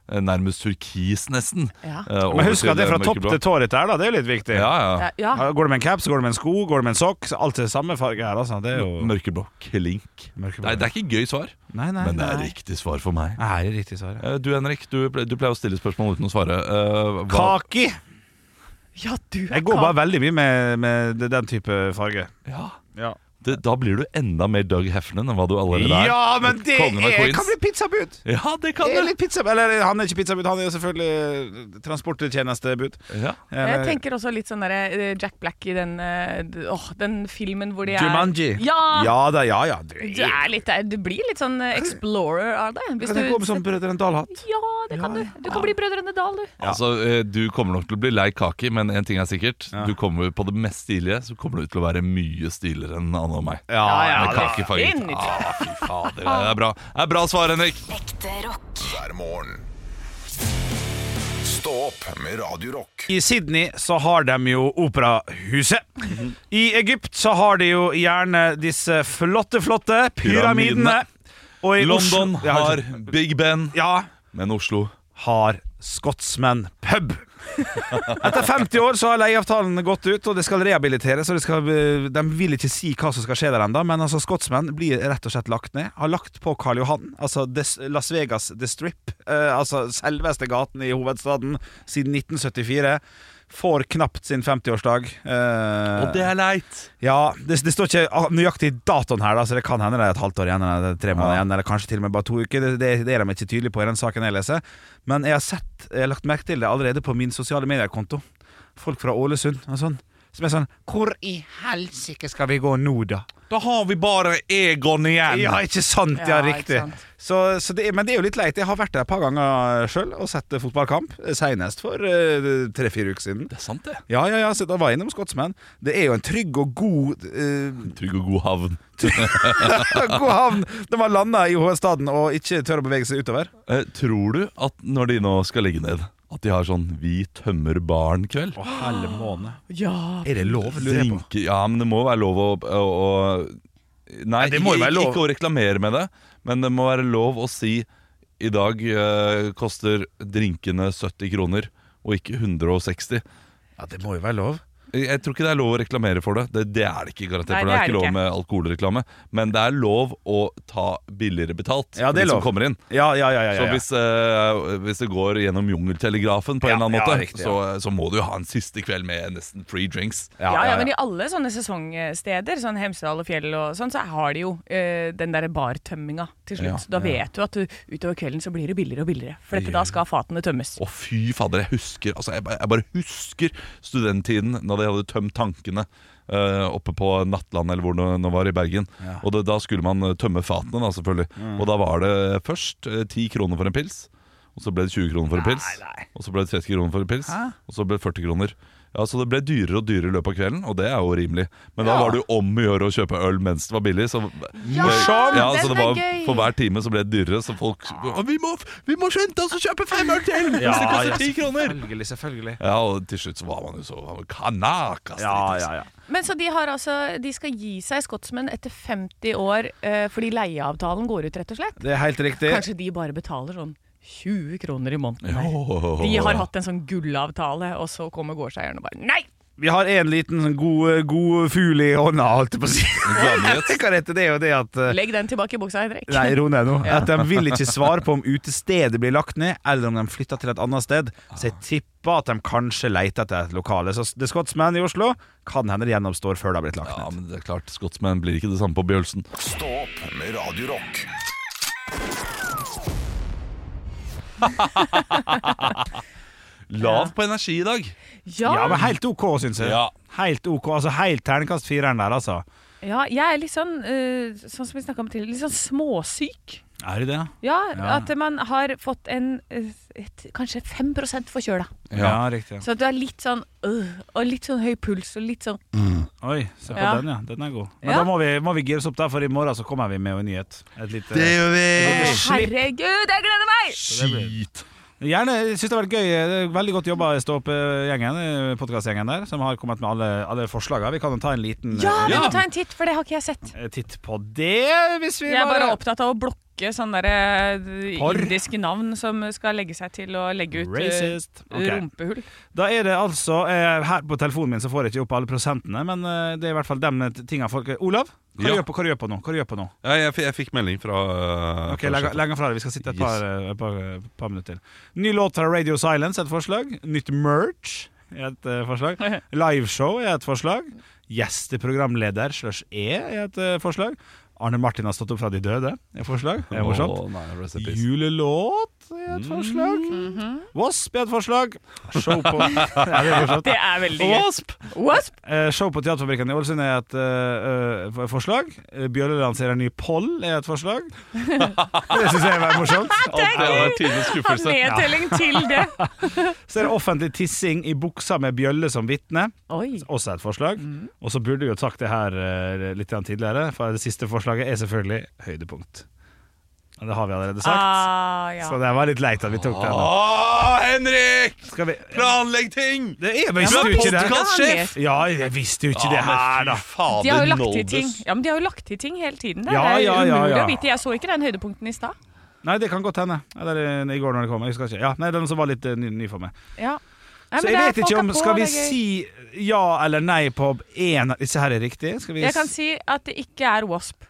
C: eh, nærmest turkis nesten.
D: Ja.
C: eh, over
B: Men husk
C: til,
B: at det er fra
C: eh,
B: topp
C: mørkeblå.
B: til tå dette her, da. Det er jo litt viktig.
C: Ja,
D: Ja,
C: ja.
D: ja.
B: Ja, Går det med en caps, går det med en sko, går det med en sokk. Alt er samme farge her, altså. Det er jo
C: Mørkeblå. Klink.
B: Mørkeblå.
C: Nei, det er ikke gøy svar,
B: Nei, nei,
C: men det er
B: nei.
C: riktig svar for meg.
B: Nei, det er riktig svar. ja.
C: Eh, Du Henrik, du, ple- du pleier å stille spørsmål uten å svare. Eh, hva-
B: Kaki!
D: ja, du er
B: Jeg går
D: kald.
B: bare veldig mye med, med den type farge.
C: Ja.
B: Ja.
C: det, da blir du enda mer Doug Hefnen enn hva du allerede er.
B: Ja, men det
C: Kongen av
B: er,
C: Queens.
B: kan bli pizzabud!
C: Ja, det kan
B: Det er
C: du!
B: litt pizzabud. Eller han er ikke pizzabud, han er jo selvfølgelig eh, transporttjenestebud. Eh,
C: Ja.
D: Jeg
B: Eller-
D: tenker også litt sånn der, eh, Jack Black i den, eh, d- åh, den filmen hvor de er
B: Jumanji.
D: Ja!
B: Ja da, ja ja. Du
D: Du, er litt, der- du blir litt sånn eh, explorer av det. Hvis
B: Kan jeg sånn
D: du,
B: komme som Brødrene Dal-hatt?
D: ja, det kan du. Du kan bli Brødrene Dal, du.
C: Altså, eh, Du kommer nok til å bli lei kake, men én ting er sikkert. Du kommer På det mest stilige så kommer du til å være mye stiligere enn Anne og meg. Med kakefarget.
D: definitivt.
C: Ah, fy fader, det er bra. Det er bra svar, Henrik.
E: Ekte rock.
A: hver morgen. Stå opp med Radio Rock.
B: I Sydney så har de jo operahuset. I Egypt så har de jo gjerne disse flotte, flotte pyramidene.
C: Pyramidene.
B: Og i
C: London
B: Oslo- Ja,
C: har Big Ben,
B: Ja,
C: men Oslo
B: har skotsmenn pub. Etter 50 år så har leieavtalen gått ut, og det skal rehabiliteres. Og det skal, eh, de vil ikke si hva som skal skje der ennå, men altså skotsmenn blir rett og slett lagt ned. Har lagt på Karl Johan, altså Des- Las Vegas The Strip, eh, altså selveste gaten i hovedstaden, siden 1974. Får knapt sin 50-årsdag. Eh,
C: Og det er leit.
B: ja, det, det står ikke ah, nøyaktig datoen her, da, så det kan hende det er et halvt år igjen, eller tre måneder igjen, eller kanskje til og med bare to uker. Det, det, det er de ikke tydelige på i den saken jeg leser. Men jeg har sett, jeg har lagt merke til det allerede på min sosiale mediekonto. Folk fra Ålesund og sånn. Som er sånn Hvor i helsike skal vi gå nå, da?
C: Da har vi bare Egon igjen.
B: Ja, ikke sant? Ja,
D: Ja, ikke
B: riktig.
D: sant.
B: Så, så det, er- men det er jo litt leit. Jeg har vært der et par ganger sjøl og sett eh, fotballkamp. eh, Senest for tre-fire uker siden.
C: Det er sant, det.
B: Ja, ja, ja, så da var jeg innom Skotsmenn. Det er jo en trygg og god eh,
C: Trygg og god havn.
B: God havn! De har landa i hovedstaden og ikke tør å bevege seg utover.
C: Eh, tror du at når de nå skal legge ned, at de har sånn Vi tømmer baren-kveld?
D: Ja.
B: Er det lov?
C: Drinke, ja, men det må være lov å, å, å Nei,
B: det må jo
C: ikke,
B: være lov.
C: ikke å reklamere med det, men det må være lov å si I dag eh, koster drinkene 70 kroner, og ikke 160.
B: Ja, det må jo være lov.
C: Jeg tror ikke det er lov å reklamere for det. Det, det er det ikke garantert,
D: Nei,
C: for
D: det
C: det er
D: er det
C: ikke lov
D: ikke.
C: med alkoholreklame. Men det er lov å ta billigere betalt
B: Ja,
C: for
B: det er
C: de
B: lov.
C: som kommer inn.
B: Ja, ja, ja. ja,
C: Så
B: ja.
C: hvis, eh, hvis det går gjennom jungeltelegrafen på
B: Ja,
C: en eller annen
B: ja,
C: måte,
B: riktig,
C: så, eh, så må du jo ha en siste kveld med nesten free drinks.
D: Ja, ja, men i alle sånne sesongsteder, sånn Hemsedal og Fjell og sånn, så har de jo eh, den derre bartømminga til slutt.
C: Ja,
D: da vet du at du, utover kvelden så blir det billigere og billigere. For dette, da skal fatene tømmes.
C: Å, fy fader, jeg husker altså, jeg, bare- jeg bare husker studenttiden da de hadde tømt tankene eh, oppe på Nattland eller hvor det nå var i Bergen. Og det, da skulle man eh, tømme fatene, da, selvfølgelig. Og da var det først eh, 10 kroner for en pils. Og så ble det 20 kroner for en pils. Og så ble det 30 kroner for en pils. Og så ble det 40 kroner. Ja, Så det ble dyrere og dyrere i løpet av kvelden, og det er jo rimelig. Men da var det jo om å gjøre å kjøpe øl mens det var billig. Så,
B: Morsom!
C: Ja,
D: Den
C: så det
D: er
C: var,
D: gøy.
C: For hver time så ble det dyrere, så folk «Å, vi, må, vi må skynde oss å kjøpe fem øl til! Hvis det koster ti kroner!
B: Selvfølgelig, selvfølgelig.
C: Ja, og til slutt så var liksom. man jo så kanakas.
B: Ja, ja, ja.
D: Men så de har altså De skal gi seg, skotsmenn, etter 50 år eh, fordi leieavtalen går ut, rett og slett.
B: Det er helt riktig.
D: Kanskje de bare betaler sånn 20 kroner i måneden.
C: Ja.
D: De har hatt en sånn gullavtale, og så kommer gårdseieren og bare Nei!
B: Vi har en liten sånn god, god fugl i hånda, holdt jeg på å si.
C: Gladnyhet.
B: Hva heter det? er jo det at eh,
D: Legg den tilbake i buksa, Henrik.
B: Nei, ro ned nå. At de vil ikke svare på om utestedet blir lagt ned, eller om de flytter til et annet sted. Så jeg tipper at de kanskje leter etter et lokale. Så The Scotsman i Oslo kan hende det gjenoppstår før det har blitt lagt
C: Ja,
B: ned.
C: men det er klart, skotsmenn blir ikke det samme på Bjølsen.
A: Stå opp med Radio Rock.
C: Lav på energi i dag.
D: Ja,
B: Ja, men helt OK, syns jeg.
C: Ja.
B: Helt OK, altså Helt terningkast fireren der, altså.
D: ja, jeg er litt sånn, eh, sånn som vi snakka om tidligere, litt sånn småsyk.
B: Er du det?
D: Ja,
B: Ja.
D: at man har fått en eh, et, kanskje 5 forkjøla.
B: Ja, riktig.
D: Så at du er litt sånn øh, og litt sånn høy puls og litt sånn
B: Oi, se på
D: Ja.
B: den, ja. Den er god. Men
D: Ja.
B: da må vi, må vi gires opp der, for i morgen så kommer vi med en nyhet. Et lite,
C: gjør vi!
D: Å,
B: Eh, slipp.
D: Herregud, jeg gleder meg!
C: Skit.
B: Gjerne, jeg synes det har vært gøy. Det er Veldig godt jobba, Stå opp-gjengen, eh, podkastgjengen der, som har kommet med alle, alle forslagene. Vi kan jo ta en liten
D: Ja,
B: eh,
D: vi
C: Ja.
D: må ta en titt, for det har ikke jeg sett.
B: titt på det, hvis vi
D: Jeg er bare opptatt av å blokke sånne der, eh,
B: Porr.
D: indiske navn som skal legge seg til å legge ut eh,
B: Racist. Ok.
D: rumpehull.
B: Da er det altså eh, Her på telefonen min så får jeg ikke opp alle prosentene, men eh, det er i hvert fall de tinga folk eh, Olav, hva
C: Ja.
B: gjør du på, hva du gjør på nå? Hva du gjør på nå?
C: Ja, jeg, f- jeg fikk melding fra øh,
B: Ok,
C: fra
B: legg
C: sjefen.
B: legg den fra deg. Vi skal sitte et
C: Yes.
J: eh,
B: par, et par, et par minutter til. Ny låt fra Radio Silence, et forslag. Nytt merch.
J: er et eh, forslag. Liveshow er et forslag. Gjesteprogramleder slash E er et eh, forslag. Arne Martin har stått opp fra de døde er et forslag. Det er morsomt.
C: Å, nei, rest in peace.
J: Julelåt er et forslag.
D: Mm-hmm.
J: Wasp er et forslag. Show på, ja, det er morsomt.
D: Det er veldig gøy.
C: Wasp!
D: Wasp!
J: Eh, show på Teaterfabrikken i Ålesund er et eh, eh, forslag. Eh, Bjørneland ser en ny poll er et forslag. Det syns jeg er morsomt.
C: Det er tidenes
D: Har
C: skuffelse.
D: nedtelling til det.
J: Så er det offentlig tissing i buksa med bjølle som vitne.
D: Oi.
J: Også et forslag. Og så burde vi jo sagt det her eh, litt grann tidligere, for det siste forslaget er selvfølgelig høydepunkt. Og det har vi allerede sagt.
D: Ah, ja.
J: Så det var litt leit at vi tok den. da.
C: Å, Henrik!
J: Skal vi
C: Planlegg ting!
J: Det er visste
C: Ah. men
J: du ikke det?
C: podcastsjef!
J: Ja, jeg visste jo ikke det her, da.
D: De har jo lagt til ting Ja, men de har jo lagt til ting hele tiden. Det
J: Ja,
D: er
J: ja, ja,
D: umulig
J: ja.
D: å vite. Jeg så ikke den høydepunkten i stad.
J: Nei, det kan godt hende. Eller eh, i går når det kom. Jeg husker ikke. Ja, nei, den som var litt eh, ny, ny for meg.
D: Ja. Nei,
J: Så
D: men
J: jeg
D: det er-
J: vet ikke
D: folk er
J: om
D: på,
J: Skal vi
D: det er gøy.
J: si ja eller nei på én av disse her er riktig? Skal vi
D: Jeg kan
J: s-
D: si at det ikke er Wasp.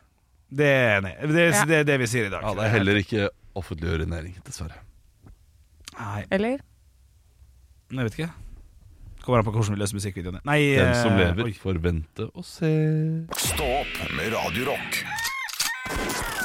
J: Det er nei. Det, er-
D: Ja.
J: det er det vi sier i dag.
C: Ja, det er heller ikke offentlig urinering, dessverre.
J: Nei,
D: Eller?
J: jeg vet ikke. Kommer an på hvordan vi løser musikkvideoene. Nei,
C: Den som
J: eh,
C: lever,
J: oi.
C: får vente og se.
A: Stå opp med Radio Rock.